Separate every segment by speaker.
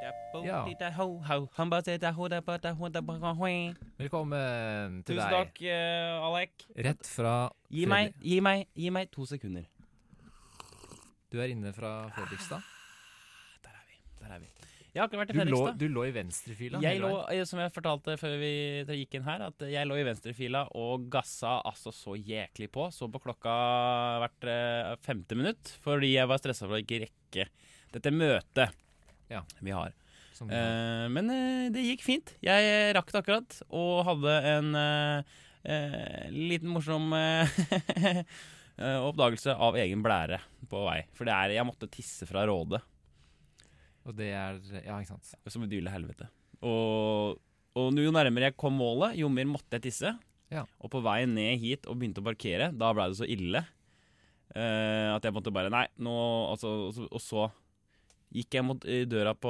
Speaker 1: Ja.
Speaker 2: Tusen Velkommen til deg.
Speaker 1: takk, eh, Alek.
Speaker 2: Rett fra
Speaker 1: Gi meg, gi, meg, gi meg to sekunder.
Speaker 2: Du er inne fra
Speaker 1: Ah,
Speaker 2: Fredrikstad.
Speaker 1: Der er vi. der er vi. Jeg har akkurat vært i
Speaker 2: Du lå,
Speaker 1: Fredrikstad.
Speaker 2: du lå i venstrefila.
Speaker 1: Jeg
Speaker 2: hele
Speaker 1: lå,
Speaker 2: veien.
Speaker 1: eh, som jeg fortalte før vi gikk inn her, at jeg lå i venstrefila og gassa altså så jæklig på. Så på klokka hvert eh, femte minutt, fordi jeg var stressa for å ikke rekke dette møtet
Speaker 2: Ja.
Speaker 1: vi har.
Speaker 2: Som-
Speaker 1: Eh, men eh, det gikk fint. Jeg eh, rakk det akkurat, og hadde en eh, eh, liten morsom eh, eh, oppdagelse av egen blære på vei. For det er, jeg måtte tisse fra Råde,
Speaker 2: og det er Ja, ikke sant.
Speaker 1: som et yle helvete. Og, og jo nærmere jeg kom målet, jo mer måtte jeg tisse.
Speaker 2: Ja.
Speaker 1: Og på vei ned hit og begynte å parkere, da ble det så ille eh, at jeg måtte bare Nei, nå altså, og så- Og så gikk jeg mot eh, døra på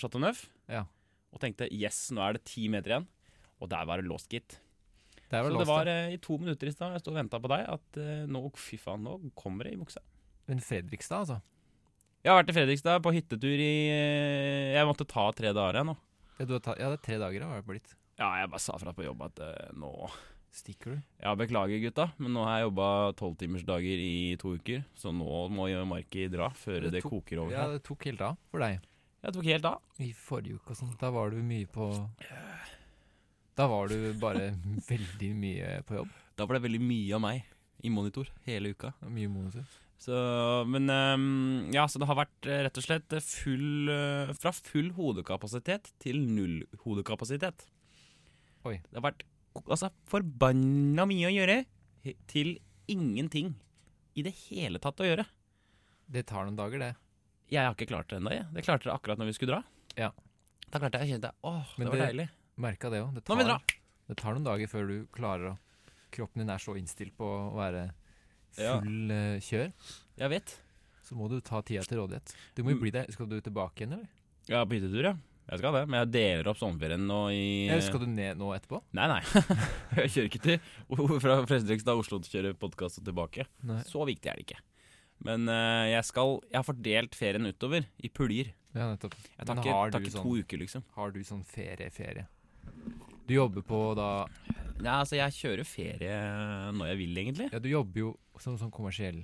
Speaker 1: Chateau Neuf.
Speaker 2: Ja.
Speaker 1: og tenkte yes, nå er det ti meter igjen. Og der var det låst, gitt.
Speaker 2: Det er
Speaker 1: Så
Speaker 2: vel
Speaker 1: det
Speaker 2: låst.
Speaker 1: var
Speaker 2: da.
Speaker 1: eh, i to minutter i stad jeg sto og venta på deg, at eh, nå, fy faen, nå kommer det i buksa.
Speaker 2: Men Fredrikstad, altså.
Speaker 1: Jeg har vært i Fredrikstad på hyttetur i eh, Jeg måtte ta tre dager, jeg nå.
Speaker 2: Ja, du har tatt, ja det er tre dager har det blitt.
Speaker 1: Ja, jeg bare sa fra på jobb at eh, nå
Speaker 2: Stikker du?
Speaker 1: Ja, beklager gutta, men nå har jeg jobba tolvtimersdager i to uker, så nå må jo Marki dra før
Speaker 2: Det
Speaker 1: det
Speaker 2: tok-
Speaker 1: koker over
Speaker 2: Ja,
Speaker 1: her.
Speaker 2: det tok helt av for deg.
Speaker 1: Jeg tok helt av.
Speaker 2: I forrige uke og sånt, da var du mye på Da var du bare veldig mye på jobb.
Speaker 1: Da var det veldig mye av meg i monitor hele uka.
Speaker 2: Mye monitor.
Speaker 1: Så, men ehm, ja, så det har vært eh, rett og slett full, eh, fra full hodekapasitet til null hodekapasitet.
Speaker 2: Oi.
Speaker 1: Det har vært altså, forbanna mye å gjøre he- til ingenting i det hele tatt å gjøre.
Speaker 2: Det tar noen dager, det.
Speaker 1: Jeg har ikke klart det ennå. jeg. Det klarte jeg akkurat når vi skulle dra.
Speaker 2: Ja.
Speaker 1: Da klarte jeg å kjenne det. Åh,
Speaker 2: Men
Speaker 1: det var
Speaker 2: det-
Speaker 1: deilig.
Speaker 2: Merka det òg. Det,
Speaker 1: Nå må vi
Speaker 2: tar- det tar noen dager før du klarer å Kroppen din er så innstilt på å være
Speaker 1: Ja.
Speaker 2: full eh, kjør.
Speaker 1: Jeg vet.
Speaker 2: Så må du ta tida til rådighet. Du må jo
Speaker 1: Mm.
Speaker 2: bli der. Skal du tilbake igjen, eller?
Speaker 1: Jeg er på hyttetur, ja. Jeg skal det. Men jeg deler opp sommerferien nå i
Speaker 2: Eller skal du ned nå etterpå?
Speaker 1: Nei, nei. jeg kjører ikke til fra Fredrikstad Oslo til å kjøre podkast og tilbake.
Speaker 2: Nei.
Speaker 1: Så viktig er det ikke. Men eh, jeg skal Jeg har fordelt ferien utover i puljer.
Speaker 2: Ja, nettopp.
Speaker 1: Jeg tar
Speaker 2: Men
Speaker 1: ikke,
Speaker 2: har
Speaker 1: tar
Speaker 2: du
Speaker 1: ikke
Speaker 2: sånn-
Speaker 1: to uker, liksom.
Speaker 2: Har du sånn ferie-ferie? Du jobber på da
Speaker 1: Nei, altså Jeg kjører ferie når jeg vil, egentlig.
Speaker 2: Ja, du jobber jo som sånn kommersiell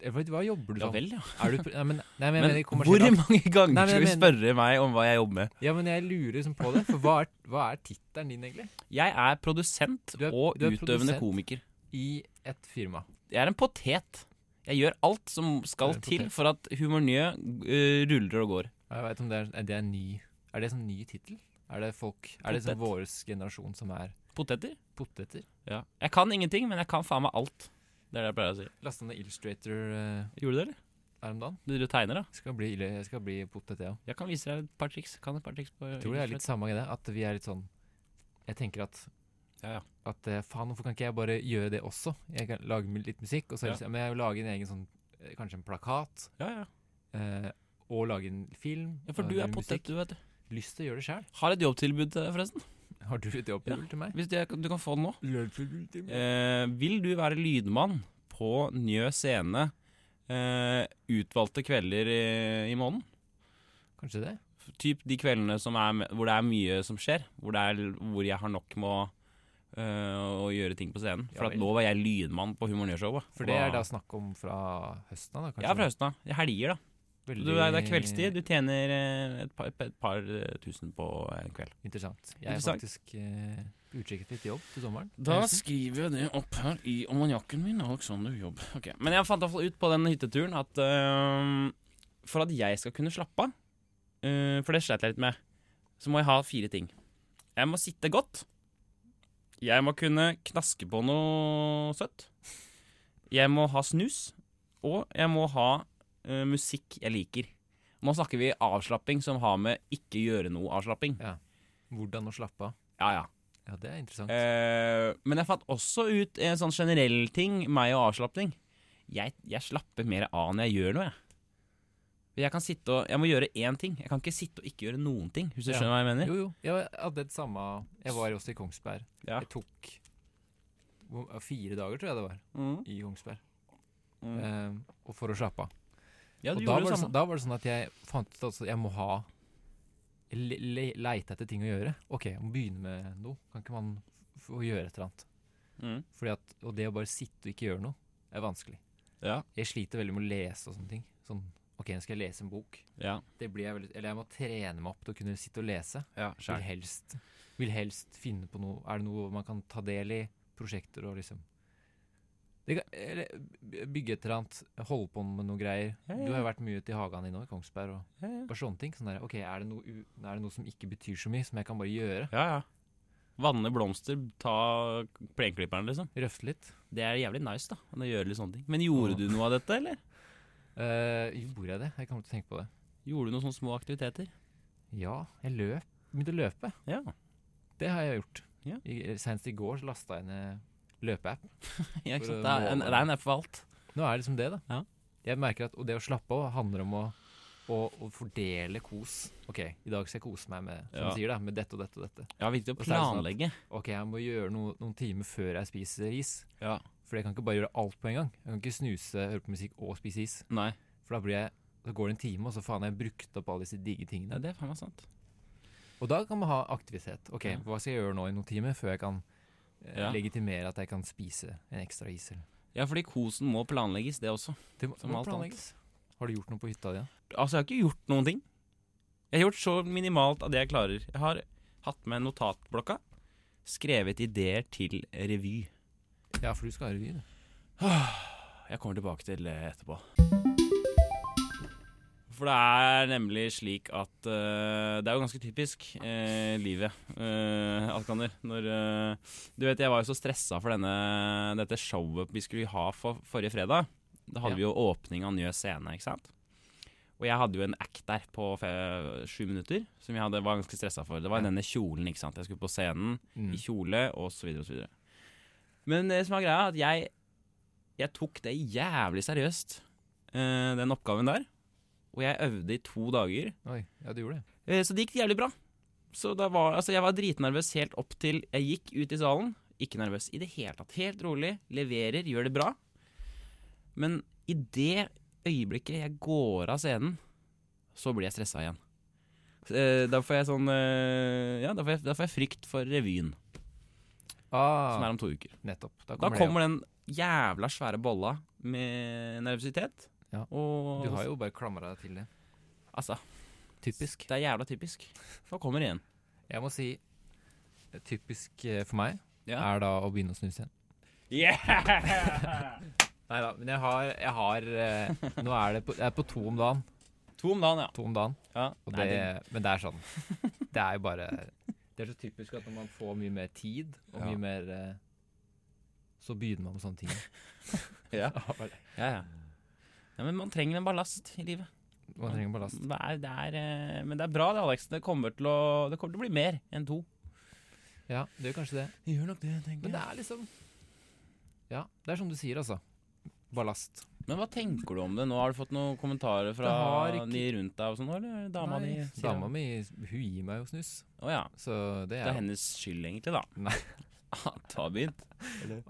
Speaker 2: Eller hva- Hva jobber du
Speaker 1: Ja
Speaker 2: som?
Speaker 1: vel, ja.
Speaker 2: Er du, pr- nei, men, nei,
Speaker 1: sånn?
Speaker 2: men, jeg
Speaker 1: Men
Speaker 2: mener
Speaker 1: hvor
Speaker 2: kommersiell akt-
Speaker 1: mange ganger
Speaker 2: Nei, men
Speaker 1: skal du
Speaker 2: jeg
Speaker 1: spørre meg om hva jeg jobber med?
Speaker 2: Ja, men jeg lurer liksom på det. For hva er, hva er tittelen din, egentlig?
Speaker 1: Jeg er produsent
Speaker 2: Du er-
Speaker 1: og
Speaker 2: du er
Speaker 1: utøvende
Speaker 2: produsent.
Speaker 1: komiker.
Speaker 2: I et firma.
Speaker 1: Jeg er en potet. Jeg gjør alt som skal
Speaker 2: Du er en
Speaker 1: til
Speaker 2: potet.
Speaker 1: for at Humor Njø eh, ruller og går.
Speaker 2: Jeg vet om det er, er det en ny Er det en sånn ny tittel? Er det folk Er det sånn vår generasjon som er
Speaker 1: Poteter?
Speaker 2: poteter?
Speaker 1: Ja. Jeg kan ingenting, men jeg kan faen meg alt. Det er det jeg pleier å si.
Speaker 2: Lasta ned Illustrator eh,
Speaker 1: Gjorde du det, eller?
Speaker 2: her om dagen.
Speaker 1: Du driver og tegner, da?
Speaker 2: Jeg skal bli, ille- jeg skal bli potet, jeg òg.
Speaker 1: Jeg kan vise deg et par triks. Kan et par triks på
Speaker 2: Jeg tror det er litt samme i det. At vi er litt sånn Jeg tenker at
Speaker 1: Ja, ja.
Speaker 2: At eh, faen, hvorfor kan ikke jeg bare gjøre det også? Jeg kan lage mu- litt musikk, og så
Speaker 1: Ja.
Speaker 2: ja. Men jeg vil lage en egen sånn eh, Kanskje en plakat,
Speaker 1: Ja, ja.
Speaker 2: eh, og lage en film.
Speaker 1: ja for
Speaker 2: og
Speaker 1: du er
Speaker 2: lage
Speaker 1: potet,
Speaker 2: musikk.
Speaker 1: du, vet du.
Speaker 2: Lyst til å gjøre det sjæl.
Speaker 1: Har et jobbtilbud til deg, forresten.
Speaker 2: Har du et jobbproblem til meg?
Speaker 1: Hvis du, du kan få det nå.
Speaker 2: Løpebil til meg?
Speaker 1: Eh, vil du være lydmann på Njø scene eh, utvalgte kvelder i, i måneden?
Speaker 2: Kanskje det.
Speaker 1: Typ de kveldene som er, me- hvor det er mye som skjer. Hvor, det er, hvor jeg har nok med å, eh, å gjøre ting på scenen.
Speaker 2: Ja
Speaker 1: For at
Speaker 2: vel.
Speaker 1: nå var jeg lydmann på Humor Njø-showet.
Speaker 2: For det er da snakk om fra høsten av, da?
Speaker 1: Ja, fra høsten av. Det er Helger, da.
Speaker 2: Veldig
Speaker 1: Du, det er- det er kveldstid. Du tjener eh, et par, et par eh, tusen på en kveld.
Speaker 2: Interessant. Jeg er
Speaker 1: Interessant.
Speaker 2: faktisk eh, på utkikk etter et jobb til sommeren.
Speaker 1: Da
Speaker 2: Høsten.
Speaker 1: skriver jeg det opp her i ammoniakken min. Alexander Jobb. Ok, Men jeg fant i hvert fall ut på den hytteturen at øhm, for at jeg skal kunne slappe av, øh, for det slet jeg litt med, så må jeg ha fire ting. Jeg må sitte godt. Jeg må kunne knaske på noe søtt. Jeg må ha snus. Og jeg må ha øh, musikk jeg liker. Nå snakker vi avslapping som har med ikke gjøre noe-avslapping.
Speaker 2: Hvordan å slappe av.
Speaker 1: Ja, ja.
Speaker 2: Ja, det er interessant.
Speaker 1: Eh, men jeg fant også ut en sånn generell ting, meg og avslapping. Jeg, jeg slapper mer av når jeg gjør noe, jeg. Jeg, kan sitte og, jeg må gjøre én ting. Jeg kan ikke sitte og ikke gjøre noen ting, hvis du
Speaker 2: Ja.
Speaker 1: skjønner hva jeg mener.
Speaker 2: Jo, jo. Jeg hadde det samme Jeg var også i Kongsberg.
Speaker 1: Ja.
Speaker 2: Jeg tok hvor- ja, fire dager, tror jeg det var, i Kongsberg.
Speaker 1: Mm.
Speaker 2: Eh, og for å slappe av.
Speaker 1: Ja,
Speaker 2: Og
Speaker 1: du
Speaker 2: da
Speaker 1: gjorde
Speaker 2: var,
Speaker 1: det
Speaker 2: det sånn,
Speaker 1: samme.
Speaker 2: da var det sånn at jeg fant ut at jeg må ha le le leite etter ting å gjøre. OK, jeg må begynne med noe. Kan ikke man f- få gjøre et eller annet?
Speaker 1: Mm.
Speaker 2: Fordi at, og det å bare sitte og ikke gjøre noe, er vanskelig.
Speaker 1: Ja.
Speaker 2: Jeg sliter veldig med å lese og sånne ting. Sånn, OK, nå skal jeg lese en bok.
Speaker 1: Ja.
Speaker 2: Det blir jeg veldig, eller jeg må trene meg opp til å kunne sitte og lese.
Speaker 1: ja
Speaker 2: Vil helst, vil helst finne på noe Er det noe man kan ta del i? Prosjekter og liksom det kan, eller, by- Bygge et eller annet, holde på med noe greier.
Speaker 1: Ja, ja.
Speaker 2: Du har jo vært mye til hagen din nå i Kongsberg. Og
Speaker 1: Ja,
Speaker 2: bare sånne ting. Sånn der, ok, er det, noe, u- er det noe som ikke betyr så mye, som jeg kan bare gjøre?
Speaker 1: ja. ja. Vanne blomster, ta plenklipperen, liksom.
Speaker 2: Røfte litt?
Speaker 1: Det er jævlig nice, da. Å gjøre litt sånne ting. Men gjorde du noe av dette, eller?
Speaker 2: Eh, gjorde jeg det? Jeg kommer til å tenke på det.
Speaker 1: Gjorde du noen sånne små aktiviteter?
Speaker 2: Ja, jeg løp. Begynte å løpe.
Speaker 1: Ja.
Speaker 2: Det har jeg gjort.
Speaker 1: Ja.
Speaker 2: I, senest i går så lasta jeg ned løpeapp.
Speaker 1: Ja, ikke
Speaker 2: For å
Speaker 1: sant? Det er en, det
Speaker 2: måle.
Speaker 1: er en app for alt.
Speaker 2: Nå er det liksom det, da.
Speaker 1: Ja.
Speaker 2: Jeg merker at og det å slappe av handler om å, å, å fordele kos. OK, i dag skal jeg kose meg med, som
Speaker 1: Ja.
Speaker 2: du sier, da, med dette og dette og dette.
Speaker 1: Ja, viktig å
Speaker 2: Og så er det sånn at-
Speaker 1: planlegge.
Speaker 2: OK, jeg må gjøre noe noen timer før jeg spiser is.
Speaker 1: Ja.
Speaker 2: For jeg kan ikke bare gjøre alt på en gang. Jeg kan ikke snuse, høre på musikk og spise is.
Speaker 1: Nei.
Speaker 2: For da blir jeg så går det en time, og så faen har jeg brukt opp alle disse digge
Speaker 1: Nei,
Speaker 2: tingene.
Speaker 1: det er faen meg sant.
Speaker 2: Og da kan man ha aktivitet. OK,
Speaker 1: Ja.
Speaker 2: hva skal jeg gjøre nå i noen timer før jeg kan eh,
Speaker 1: Ja.
Speaker 2: legitimere at jeg kan spise en ekstra is? Eller?
Speaker 1: Ja, fordi kosen må planlegges, det også.
Speaker 2: Det må,
Speaker 1: Som
Speaker 2: må
Speaker 1: alt annet.
Speaker 2: planlegges. Har du gjort noe på hytta di? da?
Speaker 1: Altså, jeg har ikke gjort noen ting. Jeg har gjort så minimalt av det jeg klarer. Jeg har hatt med notatblokka, skrevet ideer til revy.
Speaker 2: Ja, for du skal ha revy, du.
Speaker 1: Jeg kommer tilbake til det etterpå. For det er nemlig slik at eh, Det er jo ganske typisk eh, livet, uh, Alkander. Når eh, Du vet, jeg var jo så stressa for denne, dette showet vi skulle ha for, forrige fredag. Da hadde
Speaker 2: Ja.
Speaker 1: vi jo åpning av Njø scene, ikke sant? Og jeg hadde jo en act der på fe- sju minutter som jeg hadde, var ganske stressa for. Det var
Speaker 2: Ja.
Speaker 1: denne kjolen, ikke sant. Jeg skulle på scenen
Speaker 2: Mm.
Speaker 1: i kjole, og så videre og så videre. Men det som er greia, er at jeg, jeg tok det jævlig seriøst, eh, den oppgaven der. Og jeg øvde i to dager,
Speaker 2: Oi, ja, du gjorde det.
Speaker 1: eh, så det gikk jævlig bra. Så da var, altså jeg var dritnervøs helt opp til jeg gikk ut i salen. Ikke nervøs i det hele tatt. Helt rolig, leverer, gjør det bra. Men i det øyeblikket jeg går av scenen, så blir jeg stressa igjen. Eh, Da får jeg sånn eh, Ja, da får jeg, da får jeg frykt for revyen, som
Speaker 2: Ah.
Speaker 1: er om to uker.
Speaker 2: Nettopp. Da
Speaker 1: Da
Speaker 2: kommer,
Speaker 1: kommer den jævla svære bolla med nervøsitet.
Speaker 2: Ja.
Speaker 1: Og
Speaker 2: det. Du har jo bare klamra deg til det.
Speaker 1: Altså,
Speaker 2: Typisk.
Speaker 1: det er jævla typisk. Da kommer det igjen.
Speaker 2: Jeg må si eh, typisk eh, for meg
Speaker 1: Ja.
Speaker 2: er da å begynne å snuse igjen.
Speaker 1: Yeah!
Speaker 2: Nei da, men jeg har, jeg har eh, Nå er det på, jeg er på to om dagen.
Speaker 1: to om dagen, ja.
Speaker 2: To om dagen
Speaker 1: ja.
Speaker 2: og
Speaker 1: Nei,
Speaker 2: det, men det er sånn. Det er jo bare Det er så typisk at når man får mye mer tid, og
Speaker 1: Ja.
Speaker 2: mye mer eh, Så begynner man med sånne ting.
Speaker 1: det- ja. ja, ja. Ja, men man trenger en ballast i livet.
Speaker 2: Man trenger ballast.
Speaker 1: Det er, det er, eh, men det er bra det, Alex. Det kommer til å, det kommer til å bli mer enn to.
Speaker 2: Ja, det gjør kanskje det.
Speaker 1: Det gjør nok det, tenker
Speaker 2: Men det er liksom Ja, det er som du sier, altså. Ballast.
Speaker 1: Men hva tenker du om det nå? Har du fått noen kommentarer fra
Speaker 2: har ikke-
Speaker 1: de rundt deg og sånn, eller dama
Speaker 2: Nei,
Speaker 1: di? sier
Speaker 2: Dama
Speaker 1: det?
Speaker 2: mi hun gir meg jo snus,
Speaker 1: Å ja.
Speaker 2: så det
Speaker 1: Det
Speaker 2: er
Speaker 1: er
Speaker 2: jo
Speaker 1: hennes skyld, egentlig, da.
Speaker 2: Nei.
Speaker 1: At det har begynt.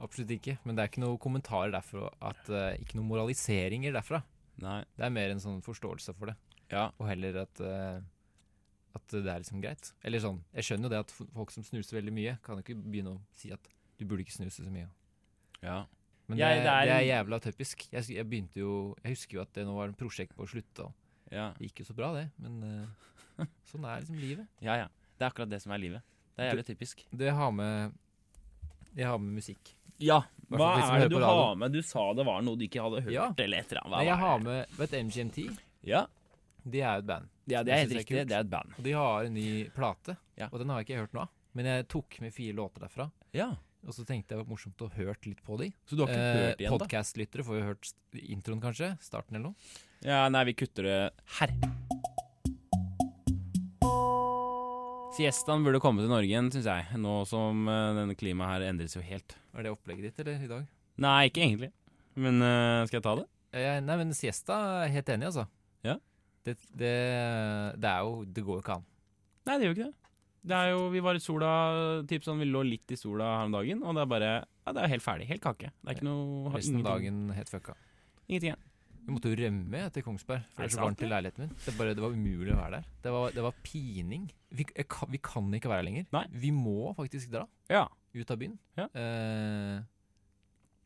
Speaker 2: absolutt ikke. Men det er ikke noe kommentarer derfra, at, eh, ikke noen moraliseringer derfra.
Speaker 1: Nei.
Speaker 2: Det er mer en sånn forståelse for det,
Speaker 1: Ja.
Speaker 2: og heller at, eh, at det er liksom greit. Eller sånn, jeg skjønner jo det at f- folk som snuser veldig mye, kan jo ikke begynne å si at du burde ikke snuse så mye.
Speaker 1: ja.
Speaker 2: Men det,
Speaker 1: Jeg- det
Speaker 2: det,
Speaker 1: er
Speaker 2: er,
Speaker 1: en-
Speaker 2: jævla typisk. Jeg, s- jeg begynte jo, jeg husker jo at det nå var en prosjekt på å slutte, og
Speaker 1: Ja,
Speaker 2: det gikk jo så bra det, men eh, sånn er liksom livet.
Speaker 1: ja. ja. Det er akkurat det som er livet. Det er
Speaker 2: Du-
Speaker 1: jævlig typisk.
Speaker 2: Det har med Jeg har med musikk.
Speaker 1: Ja,
Speaker 2: Hva Hvertfall de som er det hører du på radio. har
Speaker 1: med? Du sa det var noe du ikke hadde
Speaker 2: hørt, Ja.
Speaker 1: eller et eller
Speaker 2: Nei, jeg har med Vet du, MGMT?
Speaker 1: Ja,
Speaker 2: De er jo et band.
Speaker 1: ja det
Speaker 2: Det
Speaker 1: er helt
Speaker 2: synes jeg er
Speaker 1: riktig.
Speaker 2: kult.
Speaker 1: Det er et band.
Speaker 2: Og de har en ny plate,
Speaker 1: Ja.
Speaker 2: og den har jeg ikke hørt nå. Men jeg tok med fire låter derfra,
Speaker 1: Ja.
Speaker 2: og så tenkte jeg det var morsomt å høre litt på de.
Speaker 1: Så du har ikke hørt igjen, da?
Speaker 2: Podkast-lyttere får jo hørt st- introen, kanskje? Starten eller noe.
Speaker 1: Ja, nei, vi kutter det her. Siestaen burde komme til Norge igjen, syns jeg. Nå som eh, denne klimaet her endres jo helt.
Speaker 2: Er det opplegget ditt, eller? I dag?
Speaker 1: Nei, ikke egentlig. Men eh, skal jeg ta det?
Speaker 2: Eh, nei, men siesta er jeg helt enig, altså.
Speaker 1: Ja.
Speaker 2: Det, det, det er jo Det går jo ikke an.
Speaker 1: Nei, det gjør jo ikke det. Det er jo, Vi var i sola typ sånn, Vi lå litt i sola her om dagen, og det er bare Ja, det er helt ferdig. Helt kake. Det er ikke noe har
Speaker 2: Resten av
Speaker 1: ingenting-
Speaker 2: dagen helt fucka.
Speaker 1: Ingenting igjen.
Speaker 2: Vi måtte jo rømme jeg, til Kongsberg, for
Speaker 1: Er det
Speaker 2: det var så
Speaker 1: sant,
Speaker 2: varmt i leiligheten min. Det, bare, det var umulig å være der. Det var, det var pining. Vi, jeg kan, vi kan ikke være her lenger.
Speaker 1: Nei.
Speaker 2: Vi må faktisk dra
Speaker 1: Ja.
Speaker 2: ut av byen.
Speaker 1: Ja.
Speaker 2: Eh,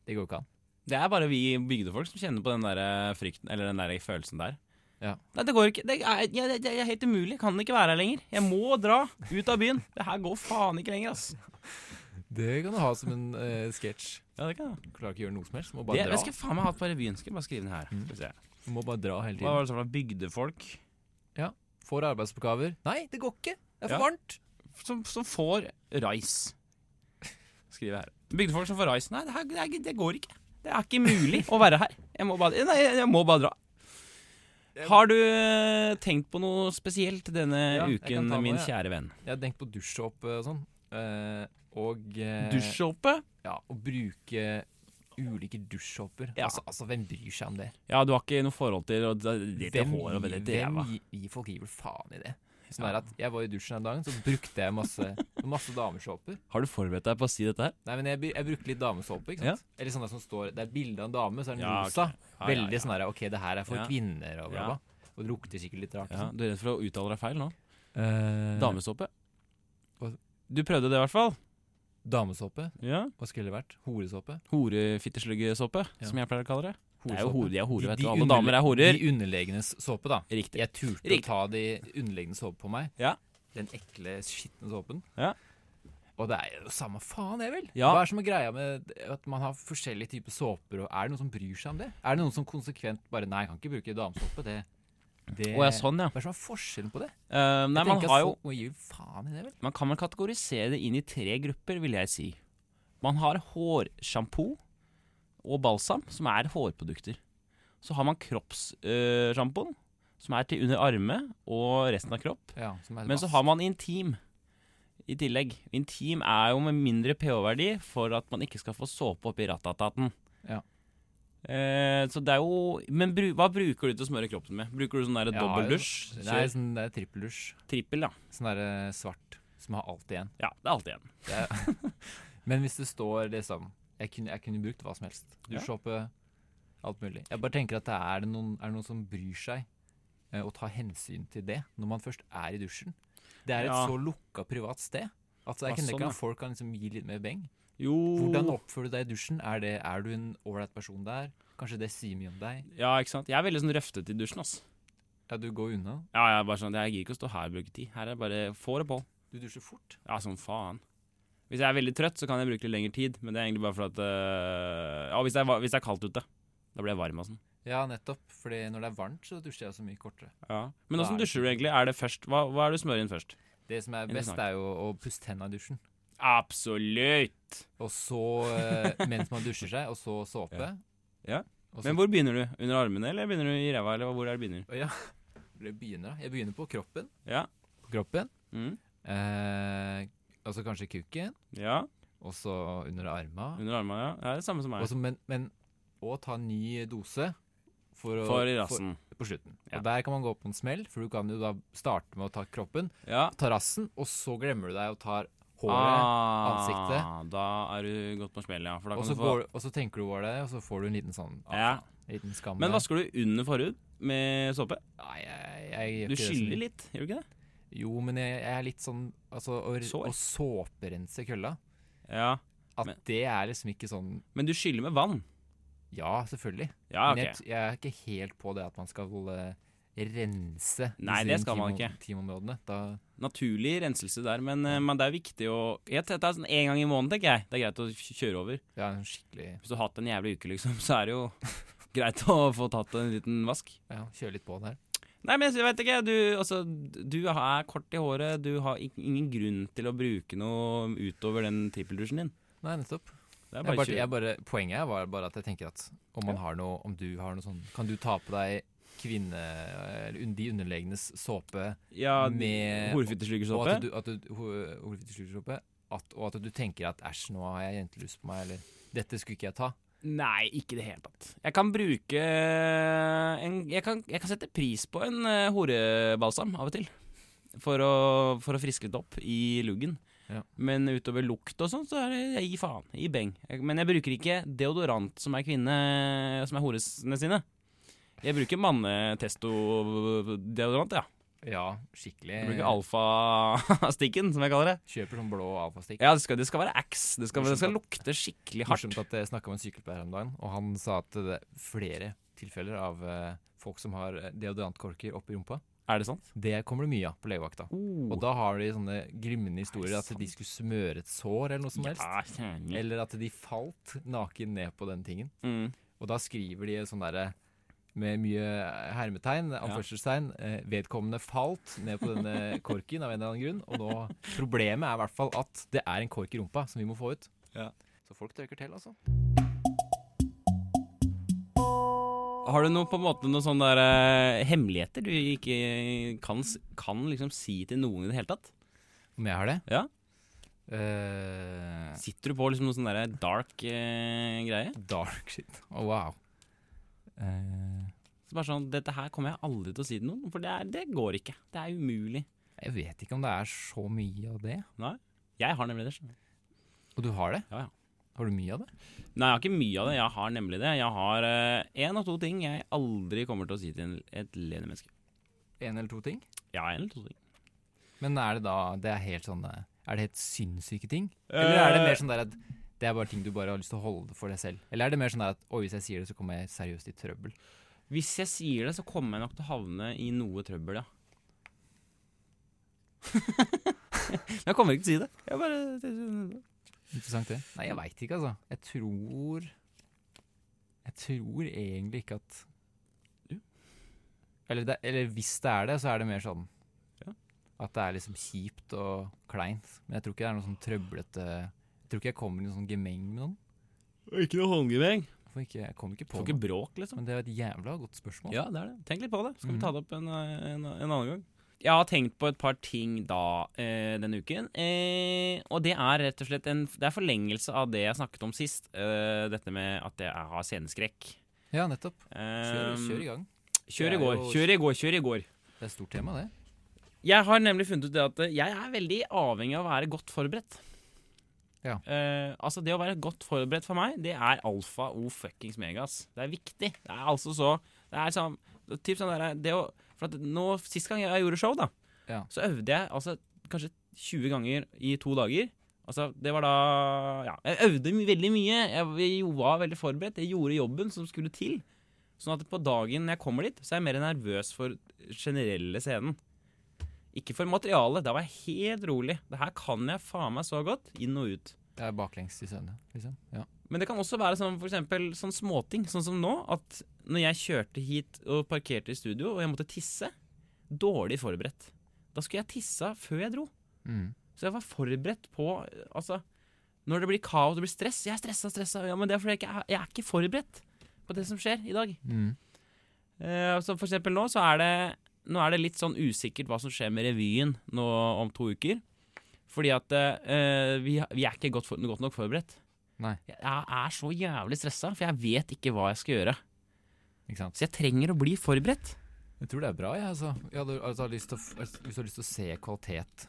Speaker 2: det går ikke an.
Speaker 1: Det er bare vi bygdefolk som kjenner på den der eh, frykten, eller den der følelsen der.
Speaker 2: Ja.
Speaker 1: Nei, det går ikke. Det er, ja, det, det er helt umulig. Jeg kan ikke være her lenger. Jeg må dra ut av byen. Det her går faen ikke lenger, ass.
Speaker 2: Det kan du ha som en eh, sketsj.
Speaker 1: Ja, det kan jeg.
Speaker 2: Klarer ikke å gjøre noe som helst. Må
Speaker 1: Det,
Speaker 2: bare
Speaker 1: det
Speaker 2: dra.
Speaker 1: skal jeg faen meg ha på revyen. Skal jeg bare skrive den her.
Speaker 2: Mm.
Speaker 1: Skal vi se.
Speaker 2: Må bare dra hele
Speaker 1: Hva
Speaker 2: tiden.
Speaker 1: var det som var bygdefolk
Speaker 2: Får arbeidsoppgaver. Nei, det går ikke! Det er for
Speaker 1: Ja.
Speaker 2: varmt!
Speaker 1: som, som får rais? Skriver jeg her. Bygdefolk som får rais. Nei, det, her, det, er ikke- det går ikke. Det er ikke mulig å være her. Jeg må bare, nei, jeg må bare dra. Har du eh, tenkt på noe spesielt denne
Speaker 2: Ja, jeg kan
Speaker 1: uken,
Speaker 2: ta noe,
Speaker 1: min
Speaker 2: ja.
Speaker 1: kjære venn?
Speaker 2: Jeg har tenkt på dusjsåpe og sånn. Eh, og eh,
Speaker 1: Dusjsåpe?
Speaker 2: Ja, å bruke ulike dusjsåper.
Speaker 1: Ja.
Speaker 2: Altså, altså, hvem bryr seg om det?
Speaker 1: Ja, du har ikke noe forhold til og det, det, det
Speaker 2: Hvem
Speaker 1: håret og det
Speaker 2: gir-
Speaker 1: deva.
Speaker 2: Hvem gir, gir folk gir vel faen i det? Sånn er at Jeg var i dusjen en dag, så brukte jeg masse, masse damesåper.
Speaker 1: Har du forberedt deg på å si dette her?
Speaker 2: Nei, men jeg, br- jeg brukte litt damesåpe. ikke sant? Eller sånne som står, Det er bilde av en dame, så er den
Speaker 1: Ja,
Speaker 2: rosa.
Speaker 1: Ja,
Speaker 2: Veldig sånn der, OK, det her er for
Speaker 1: Ja.
Speaker 2: kvinner og bla,
Speaker 1: Ja.
Speaker 2: bla. Og det lukter sikkert litt rart.
Speaker 1: Ja, Eh.
Speaker 2: Sånn.
Speaker 1: Du er redd for å uttale deg feil nå?
Speaker 2: Dame-
Speaker 1: Damesåpe?
Speaker 2: Hva-
Speaker 1: Du prøvde det i hvert fall.
Speaker 2: damesåpe?
Speaker 1: Ja.
Speaker 2: Hva skulle det vært? Horesåpe?
Speaker 1: Horefittesluggesåpe,
Speaker 2: Ja.
Speaker 1: som jeg pleier å kalle det. Det er jo
Speaker 2: Horesåpe.
Speaker 1: hore, de er hore,
Speaker 2: De-
Speaker 1: vet
Speaker 2: de
Speaker 1: du. Alle
Speaker 2: underle-
Speaker 1: damer er horer.
Speaker 2: De underlegenes såpe, da.
Speaker 1: Riktig.
Speaker 2: Jeg turte
Speaker 1: Riktig.
Speaker 2: å ta de underliggende såpe på meg.
Speaker 1: Ja.
Speaker 2: Den ekle, skitne såpen.
Speaker 1: Ja.
Speaker 2: Og det er jo samme faen, det, vel?
Speaker 1: Ja.
Speaker 2: Hva er som er greia med d- at man har forskjellige typer såper? Og er det noen som bryr seg om det? Er det noen som konsekvent bare Nei, jeg kan ikke bruke damesåpe. Det, det
Speaker 1: Å ja, sånn, ja.
Speaker 2: Hva er som er forskjellen på det?
Speaker 1: Eh, nei,
Speaker 2: Jeg
Speaker 1: man,
Speaker 2: tenker sånn. at
Speaker 1: har jo,
Speaker 2: folk må gi faen i det, vel?
Speaker 1: man kan vel kategorisere det inn i tre grupper, vil jeg si. Man har hårsjampo og balsam, som er hårprodukter. Så har man kroppssjampoen, som er til under arme og resten av kropp.
Speaker 2: Ja, som er
Speaker 1: Men så har man intim i tillegg. Intim er jo med mindre pH-verdi for at man ikke skal få såpe oppi ratataten.
Speaker 2: Ja.
Speaker 1: Eh, så det er jo Men bru, hva bruker du til å smøre kroppen med? Bruker du sånn der
Speaker 2: Ja,
Speaker 1: dobbeldusj?
Speaker 2: Det
Speaker 1: Kjør
Speaker 2: er sånn det er trippeldusj.
Speaker 1: Trippel, ja.
Speaker 2: Sånn derre svart som har alt igjen.
Speaker 1: Ja, det er alltid en.
Speaker 2: Men hvis det står liksom Jeg kunne, jeg kunne brukt hva som helst.
Speaker 1: Ja.
Speaker 2: Dusjsåpe, alt mulig. Jeg bare tenker at det er, noen, er det noen som bryr seg eh, og tar hensyn til det når man først er i dusjen. Det er et
Speaker 1: Ja.
Speaker 2: så lukka privat sted. Altså,
Speaker 1: Ja,
Speaker 2: jeg kan
Speaker 1: sånn,
Speaker 2: tenke
Speaker 1: ja.
Speaker 2: at folk kan liksom gi litt mer beng.
Speaker 1: Jo
Speaker 2: Hvordan oppfører du deg i dusjen? Er, det, er du en ålreit person der? Kanskje det sier mye om deg?
Speaker 1: Ja, ikke sant. Jeg er veldig sånn røftete i dusjen, ass.
Speaker 2: Ja, du går unna.
Speaker 1: Ja, jeg er bare sånn, jeg gir ikke å stå her og bruke tid. Her er det bare få det på.
Speaker 2: Du dusjer fort.
Speaker 1: Ja, som faen. Hvis jeg er veldig trøtt, så kan jeg bruke litt lengre tid. Men det er egentlig bare for at øh, Ja, hvis det, er, va- hvis det er kaldt ute. Da blir jeg varm og sånn.
Speaker 2: Ja, nettopp. Fordi når det er varmt, så dusjer jeg så mye kortere.
Speaker 1: Ja. Men
Speaker 2: Da
Speaker 1: åssen
Speaker 2: er det
Speaker 1: dusjer du egentlig? Er det først, hva, hva er det du smører inn først?
Speaker 2: Det som er best,
Speaker 1: Interessant.
Speaker 2: er jo å pusse tenna i dusjen.
Speaker 1: Absolutt!
Speaker 2: Og så eh, mens man dusjer seg, og så såpe.
Speaker 1: Ja. Ja.
Speaker 2: Og så
Speaker 1: Men hvor begynner du? Under armene, eller begynner du i ræva? Eller hvor er det begynner?
Speaker 2: det begynner da. Jeg begynner på kroppen.
Speaker 1: Ja.
Speaker 2: På kroppen.
Speaker 1: Mm.
Speaker 2: Eh, og så kanskje kuken.
Speaker 1: ja.
Speaker 2: Og så under arma.
Speaker 1: Under armene, ja. Det er det samme som
Speaker 2: Og
Speaker 1: meg.
Speaker 2: så- men, men å ta en ny dose for, å,
Speaker 1: For i rassen.
Speaker 2: for- på slutten.
Speaker 1: Ja.
Speaker 2: Og der kan man gå på en smell, for du kan jo da starte med å ta kroppen,
Speaker 1: Ja.
Speaker 2: ta rassen, og så glemmer du deg og tar håret.
Speaker 1: Ah,
Speaker 2: ansiktet.
Speaker 1: Da er du godt på smell, ja. For da
Speaker 2: og,
Speaker 1: kan
Speaker 2: så
Speaker 1: du få
Speaker 2: går, og så tenker du over det, og så får du en liten sånn ah,
Speaker 1: Ja.
Speaker 2: faen, en liten skam.
Speaker 1: Men
Speaker 2: der.
Speaker 1: vasker du under forhud med såpe?
Speaker 2: Nei, jeg, sånn. jeg, gjør
Speaker 1: Du
Speaker 2: ikke det så mye.
Speaker 1: skyller litt, gjør du ikke det?
Speaker 2: Jo, men jeg, jeg er litt sånn Altså, å,
Speaker 1: Sår.
Speaker 2: å såperense kølla
Speaker 1: Ja.
Speaker 2: At
Speaker 1: Men-
Speaker 2: det er liksom ikke sånn
Speaker 1: Men du skyller med vann?
Speaker 2: Ja, selvfølgelig.
Speaker 1: Ja, Ah, ok.
Speaker 2: Men jeg, t- jeg er ikke helt på det at man skal eh, rense
Speaker 1: Nei, det skal man
Speaker 2: intimo-
Speaker 1: ikke.
Speaker 2: intimområdene. Da,
Speaker 1: Naturlig renselse der, men, eh, men det er viktig å Jeg tenker det er sånn En gang i måneden, tenker jeg. Det er greit å kj- kjøre over.
Speaker 2: ja, en skikkelig
Speaker 1: Hvis du har hatt en jævlig uke, liksom, så er det jo greit å få tatt en liten vask.
Speaker 2: Ja, kjøre litt på der.
Speaker 1: Nei, men jeg vet ikke. Du, altså, du er kort i håret. Du har ik- ingen grunn til å bruke noe utover den trippeldusjen din.
Speaker 2: Nei, nettopp.
Speaker 1: Det er
Speaker 2: Jeg
Speaker 1: bare å
Speaker 2: bare,
Speaker 1: kjøre.
Speaker 2: jeg bare, poenget var bare at jeg tenker at om man har noe Om du har noe sånn Kan du ta på deg kvinne... eller un- De underlegnes såpe?
Speaker 1: Ja,
Speaker 2: med- Og
Speaker 1: Horefitteslyggesåpe.
Speaker 2: at du, at du, ho- hodet ditt slutter oppe, at, og at du tenker at æsj, nå har jeg jentelus på meg, eller dette skulle ikke jeg ta.
Speaker 1: Nei, ikke i det hele tatt. Jeg kan bruke eh, en, jeg, kan, jeg kan sette pris på en eh, horebalsam av og til. For å, for å friske litt opp i luggen.
Speaker 2: Ja.
Speaker 1: Men utover lukt og sånn, så er det jeg gir faen. I beng. Jeg, men jeg bruker ikke deodorant som er kvinne Som er horene sine. Jeg bruker mannetesto-deodorant, ja.
Speaker 2: Ja,
Speaker 1: Jeg
Speaker 2: skikkelig.
Speaker 1: bruker alfa-stikken, som jeg kaller det.
Speaker 2: Kjøper sånn blå avfallstikk.
Speaker 1: Ja, det skal, det skal være ax. Det skal, det skal
Speaker 2: Morsomt
Speaker 1: lukte skikkelig hardt.
Speaker 2: Morsomt at jeg snakka med en sykepleier om dagen, og han sa at det er flere tilfeller av eh, folk som har eh, deodorantkorker oppi rumpa.
Speaker 1: Er det sant?
Speaker 2: Det kommer det mye av på legevakta. Og da har de sånne glimrende historier at de skulle smøre et sår eller noe som helst.
Speaker 1: Ja, kjerne.
Speaker 2: Eller at de falt naken ned på den tingen.
Speaker 1: Mm.
Speaker 2: Og da skriver de sånn derre med mye eh, hermetegn, anførselstegn. eh, Vedkommende falt ned på denne korken av en eller annen grunn. Og nå, problemet er i hvert fall at det er en kork i rumpa som vi må få ut.
Speaker 1: Ja.
Speaker 2: Så folk tørker til, altså.
Speaker 1: Har du noe, på en måte, noen sånne der, eh, hemmeligheter du ikke kan, s- kan liksom si til noen i det hele tatt?
Speaker 2: Om jeg har det?
Speaker 1: Ja.
Speaker 2: Eh,
Speaker 1: Sitter du på liksom noe sånn der dark eh, greie?
Speaker 2: dark shit. Oh, wow. Eh,
Speaker 1: Som er sånn, Dette her kommer jeg aldri til å si til noen, for det, er, det går ikke. Det er umulig.
Speaker 2: jeg vet ikke om det er så mye av det.
Speaker 1: Jeg har nemlig det. skjønner du.
Speaker 2: Og du har det?
Speaker 1: Ja, ja.
Speaker 2: Har du mye av det?
Speaker 1: Nei, jeg har ikke mye av det. Jeg har nemlig det. Jeg har én av to ting jeg aldri kommer til å si til en, et levende menneske.
Speaker 2: En eller to ting?
Speaker 1: Ja, en eller to ting.
Speaker 2: Men er det da det er helt sånn eh, Er det helt sinnssyke ting? Eller er det
Speaker 1: Eh,
Speaker 2: mer sånn der at det er bare ting du bare har lyst til å holde for deg selv? Eller er det mer sånn der at oi, hvis jeg sier det, så kommer jeg seriøst i trøbbel?
Speaker 1: Hvis jeg sier det, så kommer jeg nok til å havne i noe trøbbel, ja. Men jeg kommer ikke til å si det. Jeg bare
Speaker 2: Interessant det. Nei, jeg veit ikke, altså. Jeg tror Jeg tror egentlig ikke at eller, det, eller hvis det er det, så er det mer sånn
Speaker 1: Ja.
Speaker 2: at det er liksom kjipt og kleint. Men jeg tror ikke det er noe sånn trøblete Jeg tror ikke jeg kommer i noe sånn gemeng med noen.
Speaker 1: Ikke noe håndgivning.
Speaker 2: Jeg, får ikke, jeg kom ikke på
Speaker 1: Får
Speaker 2: det.
Speaker 1: ikke bråk, liksom.
Speaker 2: Men det er et jævla godt spørsmål.
Speaker 1: Ja, det er det. Tenk litt på det. Skal
Speaker 2: Mhm.
Speaker 1: vi ta det opp en, en, en annen gang? Jeg har tenkt på et par ting da eh, denne uken. Eh, og det er rett og slett en Det er forlengelse av det jeg snakket om sist. Eh, dette med at jeg har sceneskrekk.
Speaker 2: Ja, nettopp. Kjør,
Speaker 1: Eh,
Speaker 2: kjør i gang.
Speaker 1: kjør
Speaker 2: Det
Speaker 1: i
Speaker 2: er
Speaker 1: går.
Speaker 2: jo-
Speaker 1: Kjør i går, kjør i går.
Speaker 2: Det er et stort tema, det.
Speaker 1: Jeg har nemlig funnet ut det at eh, jeg er veldig avhengig av å være godt forberedt.
Speaker 2: Ja.
Speaker 1: Eh, altså Det å være godt forberedt for meg, det er alfa o fuckings megas. Det er viktig. Det er altså så Det er sånn typ sånn der, det å, For at nå, Sist gang jeg gjorde show, da,
Speaker 2: Ja.
Speaker 1: så øvde jeg altså kanskje 20 ganger i to dager. Altså, det var da Ja, jeg øvde my- veldig mye. Jeg, jeg var veldig forberedt. Jeg gjorde jobben som skulle til. Sånn at på dagen når jeg kommer dit, så er jeg mer nervøs for generelle scenen. Ikke for materialet. Da var jeg helt rolig. Det her kan jeg faen meg så godt. Inn og ut.
Speaker 2: Det er baklengs i søvne, liksom. Ja.
Speaker 1: Men det kan også være sånn, for eksempel, sånn småting, sånn som nå, at når jeg kjørte hit og parkerte i studio, og jeg måtte tisse, dårlig forberedt. Da skulle jeg tissa før jeg dro.
Speaker 2: Mm.
Speaker 1: Så jeg var forberedt på eh, Altså, når det blir kaos og det blir stress Jeg er stressa, stressa. Ja, men det er fordi jeg ikke er, jeg er ikke forberedt på det som skjer i dag.
Speaker 2: Mm.
Speaker 1: Eh, så for eksempel nå, så er det, nå er det litt sånn usikkert hva som skjer med revyen nå om to uker. Fordi at eh, vi, vi er ikke godt, for, godt nok forberedt.
Speaker 2: Nei.
Speaker 1: Jeg er så jævlig stressa, for jeg vet ikke hva jeg skal gjøre.
Speaker 2: Ikke sant.
Speaker 1: Så jeg trenger å bli forberedt.
Speaker 2: Jeg tror det er bra, jeg, altså. Jeg hadde, altså, lyst til å, f- altså, hvis du har lyst til å se kvalitet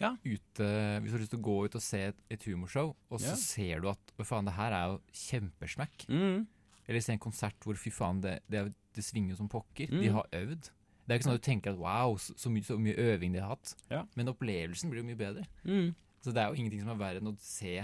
Speaker 1: Ja.
Speaker 2: ute Hvis du har lyst til å gå ut og se et, et humorshow, og så
Speaker 1: Ja.
Speaker 2: ser du at Å, faen, det her er jo kjempesmack.
Speaker 1: Mm.
Speaker 2: Eller se en konsert hvor fy faen, det, det, er, det svinger jo som pokker.
Speaker 1: Mm.
Speaker 2: De har øvd. Det er ikke sånn at du tenker at wow, så, så, mye, så mye øving de har hatt.
Speaker 1: Ja.
Speaker 2: Men opplevelsen blir jo mye bedre.
Speaker 1: Mm.
Speaker 2: Så det er jo ingenting som er verre enn å se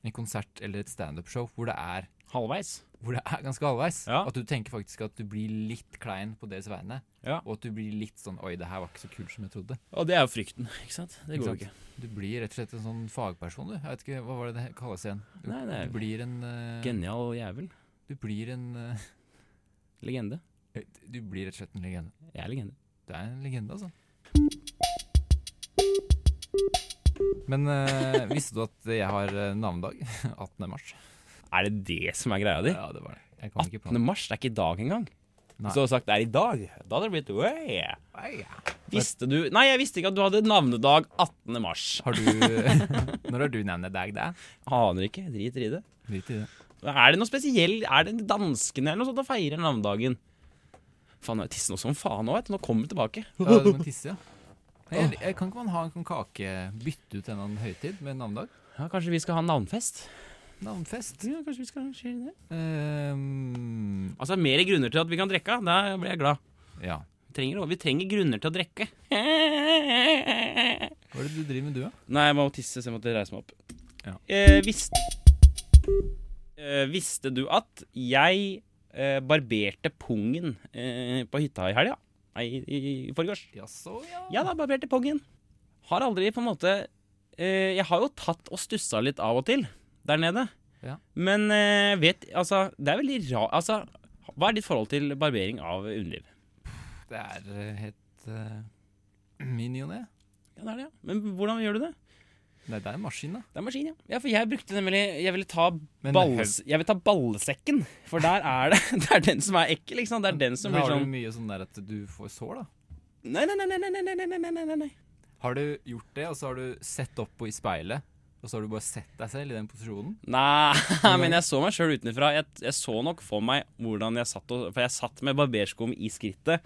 Speaker 2: en konsert eller et standup-show hvor det er
Speaker 1: Halvveis.
Speaker 2: hvor det er ganske halvveis.
Speaker 1: Ja.
Speaker 2: At du tenker faktisk at du blir litt klein på deres vegne.
Speaker 1: Ja.
Speaker 2: Og at du blir litt sånn Oi, det her var ikke så kult som jeg trodde.
Speaker 1: Og det er jo frykten, ikke sant? Det
Speaker 2: Ikke
Speaker 1: går jo
Speaker 2: sant?
Speaker 1: ikke.
Speaker 2: Du blir rett og slett en sånn fagperson, du. Jeg vet ikke, Hva var det det kalles igjen? Du,
Speaker 1: Nei, det er
Speaker 2: du blir en eh,
Speaker 1: Genial jævel.
Speaker 2: Du blir en eh,
Speaker 1: Legende.
Speaker 2: Du blir rett og slett en legende.
Speaker 1: Jeg er legende.
Speaker 2: Du er en legende, altså. Men eh, visste du at jeg har eh, navnedag? 18. mars.
Speaker 1: Er det det som er greia di?
Speaker 2: Ja, det var det. Jeg kom ikke på
Speaker 1: 18. mars det er ikke i dag engang.
Speaker 2: Nei.
Speaker 1: Hvis du hadde sagt det er i dag, da hadde det blitt way.
Speaker 2: noe.
Speaker 1: Visste du Nei, jeg visste ikke at du hadde navnedag 18. mars.
Speaker 2: Har du Når har du navnedag, da?
Speaker 1: Aner ikke. Driter i det.
Speaker 2: Drit i det.
Speaker 1: Er det noe spesiell Er det danskene eller noe sånt som feirer navnedagen? Faen, jeg tisser noe som faen nå, vet du. Nå kommer det tilbake.
Speaker 2: Ja, du må tisse, ja. Jeg, jeg, sånn kan ikke man ha en kake Bytte ut en eller annen høytid med en navnedag?
Speaker 1: Ja, kanskje vi skal ha navnfest?
Speaker 2: Navnfest.
Speaker 1: Ja, kanskje vi skal arrangere det?
Speaker 2: Ehm,
Speaker 1: Altså, mer grunner til at vi kan drikke. Da blir jeg glad.
Speaker 2: ja.
Speaker 1: Vi trenger, vi trenger grunner til å drikke.
Speaker 2: Hva er det du driver med, du, da?
Speaker 1: Nei, jeg må tisse, så jeg måtte reise meg opp.
Speaker 2: Ja.
Speaker 1: Eh, visst- eh, visste du at jeg eh, barberte pungen eh, på hytta i helga? Nei, i, i forgårs.
Speaker 2: Jaså, ja.
Speaker 1: Ja da, barberte pungen. Har aldri på en måte eh, Jeg har jo tatt og stussa litt av og til der nede.
Speaker 2: Ja.
Speaker 1: Men eh, vet Altså, det er veldig rart Altså, hva er ditt forhold til barbering av underliv?
Speaker 2: Det er eh, et uh, minione.
Speaker 1: Ja, det er det, ja. Men hvordan gjør du det?
Speaker 2: Nei, det er en maskin, da.
Speaker 1: Det er maskin, ja. ja for jeg brukte nemlig Jeg ville ta,
Speaker 2: Men
Speaker 1: balles, jeg vil ta ballesekken. For der er det Det er den som er ekkel, ikke sant? Det er den som
Speaker 2: Men
Speaker 1: blir
Speaker 2: Har du
Speaker 1: sånn
Speaker 2: mye sånn der at du får sår, da?
Speaker 1: Nei, nei, nei, nei, nei, nei, nei, nei, nei, nei, nei.
Speaker 2: Har du gjort det, og så har du sett opp på- i speilet, og så har du bare sett deg selv i den posisjonen?
Speaker 1: Nei, men jeg så meg sjøl utenfra. Jeg, jeg så nok for meg hvordan jeg satt og, For jeg satt med barberskum i skrittet.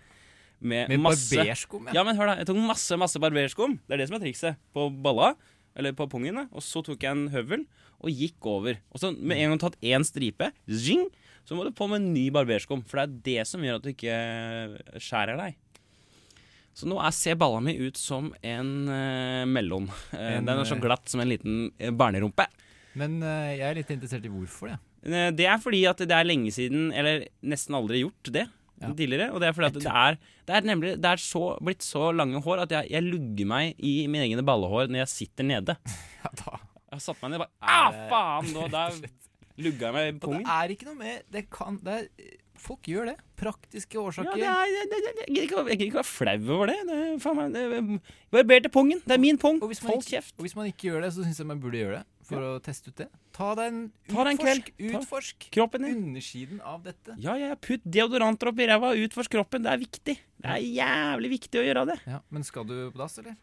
Speaker 1: Med,
Speaker 2: Med
Speaker 1: masse
Speaker 2: barberskum, ja.
Speaker 1: Ja, men hør da. Jeg tok masse masse barberskum. Det er det som er trikset. På balla, eller på pungen. da. Og så tok jeg en høvel og gikk over. Og så med en gang du har tatt én stripe, zing, så må du på med en ny barberskum. For det er det som gjør at du ikke eh, skjærer deg. Så nå er, ser balla mi ut som en eh, mellom. Eh,
Speaker 2: En,
Speaker 1: den er så
Speaker 2: eh,
Speaker 1: glatt som en liten eh, barnerumpe.
Speaker 2: Men eh, jeg er litt interessert i hvorfor, jeg.
Speaker 1: Eh, Det er fordi at det er lenge siden, eller nesten aldri gjort det
Speaker 2: Ja.
Speaker 1: tidligere. Og det er fordi at det er, det er nemlig det er så, blitt så lange hår at jeg, jeg lugger meg i mine egne ballehår når jeg sitter nede.
Speaker 2: Ja, da.
Speaker 1: Jeg har satt meg ned og bare
Speaker 2: Er
Speaker 1: Ah,
Speaker 2: det-
Speaker 1: faen! Nå, der lugga jeg meg i
Speaker 2: Og det
Speaker 1: pungen.
Speaker 2: er ikke noe med det kan, det er, Folk gjør det. Praktiske
Speaker 1: Ja,
Speaker 2: årsaker.
Speaker 1: det er, det, det, det, jeg gidder ikke å- jeg gidder ikke å være flau over det. det, er faen, meg- det Barberte pungen. Det er min pung.
Speaker 2: og hvis man
Speaker 1: Hold
Speaker 2: ikke-
Speaker 1: kjeft.
Speaker 2: Og hvis man ikke gjør det, så syns jeg man burde gjøre det. For å teste ut det. Ta deg en
Speaker 1: Ta deg en
Speaker 2: utforsk,
Speaker 1: kveld. Ta-
Speaker 2: utforsk
Speaker 1: Kroppen din.
Speaker 2: undersiden av dette.
Speaker 1: Ja, ja, ja, putt deodoranter opp i ræva. Utforsk kroppen. Det er viktig. Det er jævlig viktig å gjøre det.
Speaker 2: Ja, Men skal du på dass, eller?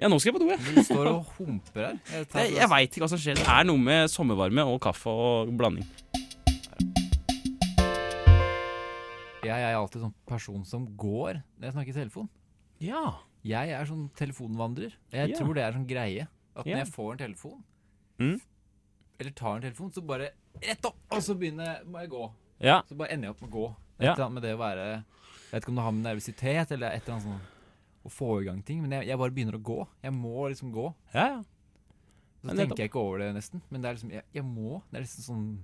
Speaker 1: Ja, nå skal jeg på do, ja.
Speaker 2: Du står og humper her. Jeg, tar
Speaker 1: Jeg,
Speaker 2: på
Speaker 1: jeg
Speaker 2: dass.
Speaker 1: veit ikke hva som skjer. Det er noe med sommervarme og kaffe og blanding.
Speaker 2: jeg er alltid sånn person som går når jeg snakker i telefon.
Speaker 1: Ja.
Speaker 2: Jeg er sånn telefonvandrer. Jeg
Speaker 1: Ja.
Speaker 2: tror det er sånn greie. At
Speaker 1: Ja.
Speaker 2: når jeg får en telefon,
Speaker 1: Mm.
Speaker 2: eller tar en telefon, så bare rett opp, og så begynner jeg, må jeg gå.
Speaker 1: Ja.
Speaker 2: Så bare ender jeg opp med å gå. Et
Speaker 1: Ja.
Speaker 2: eller annet med det å være Jeg vet ikke om det har med nervøsitet eller et eller annet sånn å få i gang ting, men jeg, jeg bare begynner å gå. Jeg må liksom gå.
Speaker 1: Ja,
Speaker 2: Så
Speaker 1: Ja, nettopp.
Speaker 2: tenker jeg ikke over det nesten, men det er liksom Jeg, jeg må. Det er liksom sånn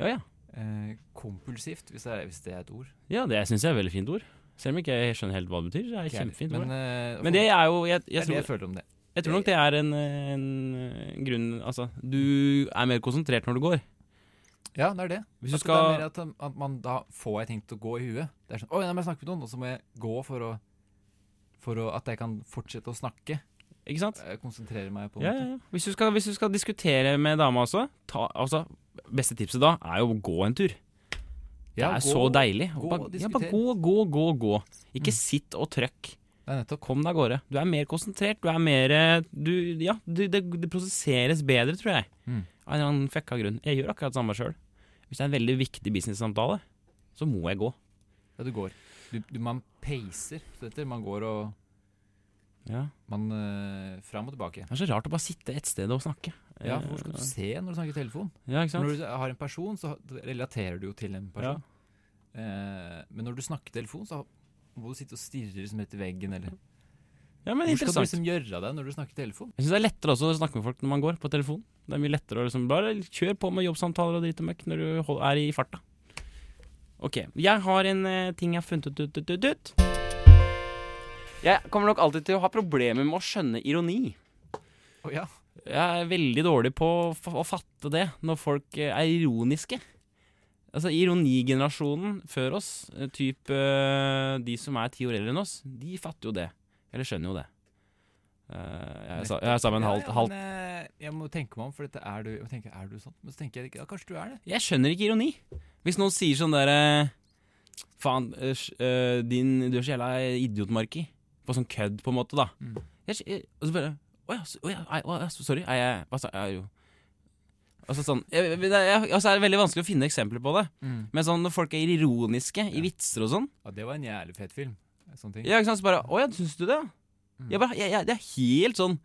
Speaker 1: ja. ja.
Speaker 2: eh, kompulsivt, hvis det, er, hvis det er et ord.
Speaker 1: det syns jeg er et veldig fint ord. Selv om ikke jeg skjønner helt hva det betyr. Det er et kjempefint
Speaker 2: men,
Speaker 1: ord.
Speaker 2: eh,
Speaker 1: Men det er jo Jeg,
Speaker 2: det
Speaker 1: jeg,
Speaker 2: er det jeg
Speaker 1: tror,
Speaker 2: føler om det.
Speaker 1: jeg tror nok det er en, en grunn Altså, du er mer konsentrert når du går.
Speaker 2: Ja, det er det.
Speaker 1: Hvis du
Speaker 2: At Altså, Det er
Speaker 1: skal
Speaker 2: mer at, um, at man da får jeg ting til å gå i huet. Det er sånn Oi, nei, men jeg snakker med noen, og så må jeg gå for å For å, at jeg kan fortsette å snakke.
Speaker 1: Ikke sant?
Speaker 2: Eh, Konsentrere meg på
Speaker 1: Ja, ja,
Speaker 2: noe.
Speaker 1: ja. Hvis, du skal, hvis du skal diskutere med dama også ta, altså, Beste tipset da er jo å gå en tur. Det er så deilig.
Speaker 2: gå
Speaker 1: Bare,
Speaker 2: og
Speaker 1: ja, bare
Speaker 2: diskuter.
Speaker 1: gå, gå, gå. gå Ikke sitt og trøkk.
Speaker 2: Det er nettopp.
Speaker 1: Kom deg av gårde. Du er mer konsentrert. Du er mer eh, du, Ja, du, det, det prosesseres bedre, tror jeg.
Speaker 2: Mm.
Speaker 1: Av en eller annen fucka grunn. Jeg gjør akkurat det samme sjøl. Hvis det er en veldig viktig business-samtale, så må jeg gå.
Speaker 2: Ja, du går. Du, du, man peiser etter. Man går og
Speaker 1: Ja.
Speaker 2: Man eh, fram og tilbake.
Speaker 1: Det er så rart å bare sitte et sted og snakke.
Speaker 2: Ja,
Speaker 1: Eh,
Speaker 2: for hvor skal du se når du snakker i telefon?
Speaker 1: ja ikke sant?
Speaker 2: Når du har en person, så relaterer du jo til en person. Eh, men når du snakker i telefon, så må du sitte og stirre liksom etter veggen, eller
Speaker 1: Ja, men
Speaker 2: Hvor skal du
Speaker 1: interessant.
Speaker 2: liksom gjøre av deg når du snakker i telefon?
Speaker 1: Jeg syns det er lettere også å snakke med folk når man går på telefon. Det er mye lettere å liksom bare kjøre på med jobbsamtaler og drit og møkk når du hol- er i farta. Ok, jeg har en eh, ting jeg har funnet ut, ut, ut, ut, ut. Jeg kommer nok alltid til å ha problemer med å skjønne ironi.
Speaker 2: Å ja.
Speaker 1: Jeg er veldig dårlig på å fa- å fatte det når folk eh, er ironiske. Altså Ironigenerasjonen før oss, eh, typ eh, de som er ti år eldre enn oss, de fatter jo det. Eller skjønner jo det. Eh, Jeg er sa- jeg er sammen med en halvt,
Speaker 2: ja,
Speaker 1: halvt
Speaker 2: men, eh, jeg må tenke meg om, for dette er du, jeg tenker, er du sånn? Men så tenker jeg ikke, ja, kanskje du er det.
Speaker 1: Jeg skjønner ikke ironi. Hvis noen sier sånn derre Faen, øh, sj- øh, din, du er så jævla idiotmarki. På sånn kødd, på en måte, da.
Speaker 2: Mm.
Speaker 1: Jeg, skj- jeg, og så bare Å ja, så- å ja, nei, å ja, så- sorry. Nei, jeg, hva sa jeg? Jo. Altså sånn jeg, jeg, jeg, altså, er Det veldig vanskelig å finne eksempler på det. Men sånn når folk er ironiske i
Speaker 2: Ja.
Speaker 1: vitser og sånn
Speaker 2: Mm. Ja, det var en jævlig fet film. Sånne ting.
Speaker 1: Ja, ikke sant, så bare Å ja, syns du det? ja?» Jeg bare, jeg, jeg, det er helt sånn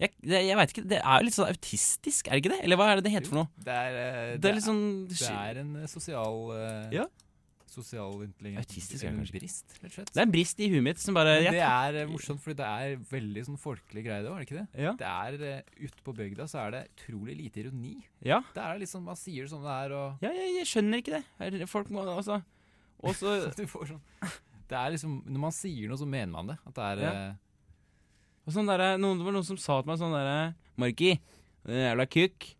Speaker 1: Jeg, det, jeg vet ikke, det er jo litt sånn autistisk, er det ikke det? Eller hva er det det heter for noe?
Speaker 2: Det er, eh,
Speaker 1: Det er litt sånn
Speaker 2: det er en eh, sosial eh,
Speaker 1: Ja.
Speaker 2: Sosial intelligens.
Speaker 1: Autistisk er det
Speaker 2: en
Speaker 1: kanskje ikke.
Speaker 2: brist, rett og slett.
Speaker 1: Det er en brist i huet mitt som bare
Speaker 2: Men
Speaker 1: jeg,
Speaker 2: det er eh, morsomt, fordi det er veldig sånn folkelig greie, det var det ikke det?
Speaker 1: Ja.
Speaker 2: Det er eh, Ute på bygda så er det utrolig lite ironi.
Speaker 1: Ja.
Speaker 2: Det er litt sånn, Man sier det sånn det er, og
Speaker 1: Ja, jeg, jeg skjønner ikke det. Her- Folk må også Og så
Speaker 2: at du får sånn Det er liksom Når man sier noe, så mener man det. At det er
Speaker 1: Ja.
Speaker 2: eh,
Speaker 1: og sånn derre- noen, Det var noen som sa til meg sånn derre 'Marki, din jævla kukk'.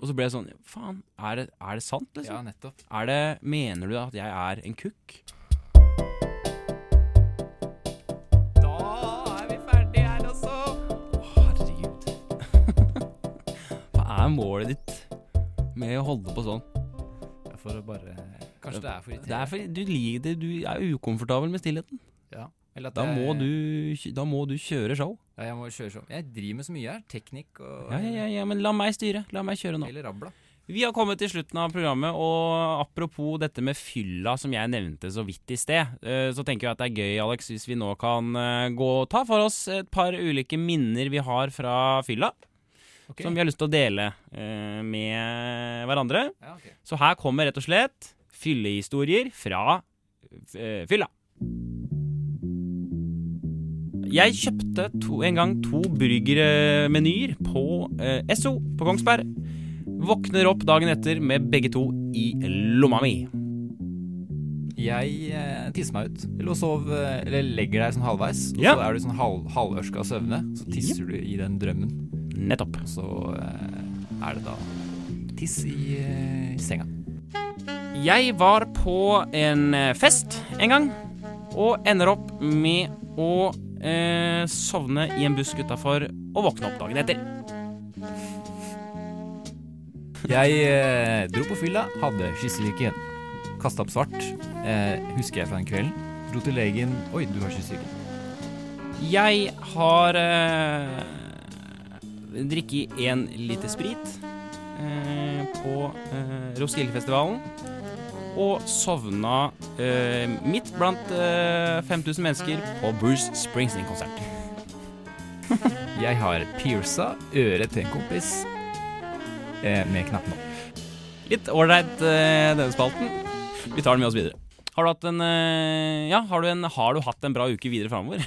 Speaker 1: Og så ble jeg sånn Faen, er det, er det sant, liksom?
Speaker 2: Ja, nettopp.
Speaker 1: Er det Mener du at jeg er en kukk?
Speaker 2: Da er vi ferdige her, altså!
Speaker 1: Herregud. Hva er målet ditt med å holde på sånn?
Speaker 2: For å bare Kanskje det er for
Speaker 1: Det er fordi du liker det, du er ukomfortabel med stillheten.
Speaker 2: Ja. Eller at
Speaker 1: Da
Speaker 2: jeg-
Speaker 1: må du, kj- da må du kjøre show.
Speaker 2: Ja, jeg må kjøre sånn. Jeg driver med så mye her. Teknikk og
Speaker 1: Ja, ja, ja, ja, men la meg styre. La meg kjøre nå.
Speaker 2: Eller rabla.
Speaker 1: Vi har kommet til slutten av programmet, og apropos dette med fylla som jeg nevnte så vidt i sted, eh, så tenker jeg at det er gøy, Alex, hvis vi nå kan eh, gå og ta for oss et par ulike minner vi har fra fylla,
Speaker 2: Ok.
Speaker 1: som vi har lyst til å dele eh, med hverandre.
Speaker 2: Ja, ok.
Speaker 1: Så her kommer rett og slett fyllehistorier fra eh, fylla. Jeg kjøpte to, en gang to burgermenyer på eh, SO på Kongsberg. Våkner opp dagen etter med begge to i lomma mi.
Speaker 2: Jeg eh, tisser meg ut. Eller, sov, eh, eller legger deg sånn halvveis, og
Speaker 1: Ja.
Speaker 2: så er du sånn halv, halvørska av søvne. Så tisser du i den drømmen.
Speaker 1: Nettopp.
Speaker 2: Og så eh, er det da tiss i eh, senga.
Speaker 1: Jeg var på en eh, fest en gang, og ender opp med å eh, sovne i en busk utafor og våkne opp dagen etter.
Speaker 2: Jeg eh, dro på fylla, hadde kyssesyke. Kasta opp svart. Eh, husker jeg fra den kvelden. Dro til legen. Oi, du har kyssesyke.
Speaker 1: Jeg har eh, drikket en liter sprit eh, på eh, Roskildefestivalen. Og sovna eh, midt blant eh, 5000 mennesker på Bruce Springsteen-konsert.
Speaker 2: Jeg har pierca øret til en kompis eh, med knappen opp.
Speaker 1: Litt ålreit, eh, denne spalten. Vi tar den med oss videre. Har du hatt en, eh, ja, har du en, har du hatt en bra uke videre framover?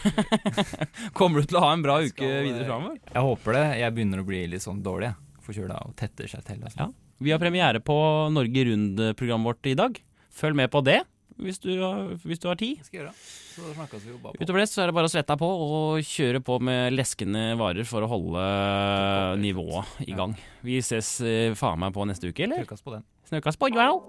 Speaker 1: Kommer du til å ha en bra uke
Speaker 2: Skal, eh,
Speaker 1: videre framover?
Speaker 2: Jeg håper det. Jeg begynner å bli litt sånn dårlig. jeg. Forkjøla og tetter seg til. Altså.
Speaker 1: Ja. Vi har premiere på Norge Rundt-programmet vårt i dag. Følg med på det hvis du, har- hvis du har tid.
Speaker 2: Skal jeg gjøre. Så snakkes vi jo bare på.
Speaker 1: Utover det så er det bare å svette deg på og kjøre på med leskende varer for å holde nivået i gang. Vi ses eh, faen meg på neste uke, eller?
Speaker 2: Trykkes på den.
Speaker 1: Snøkas på, joao!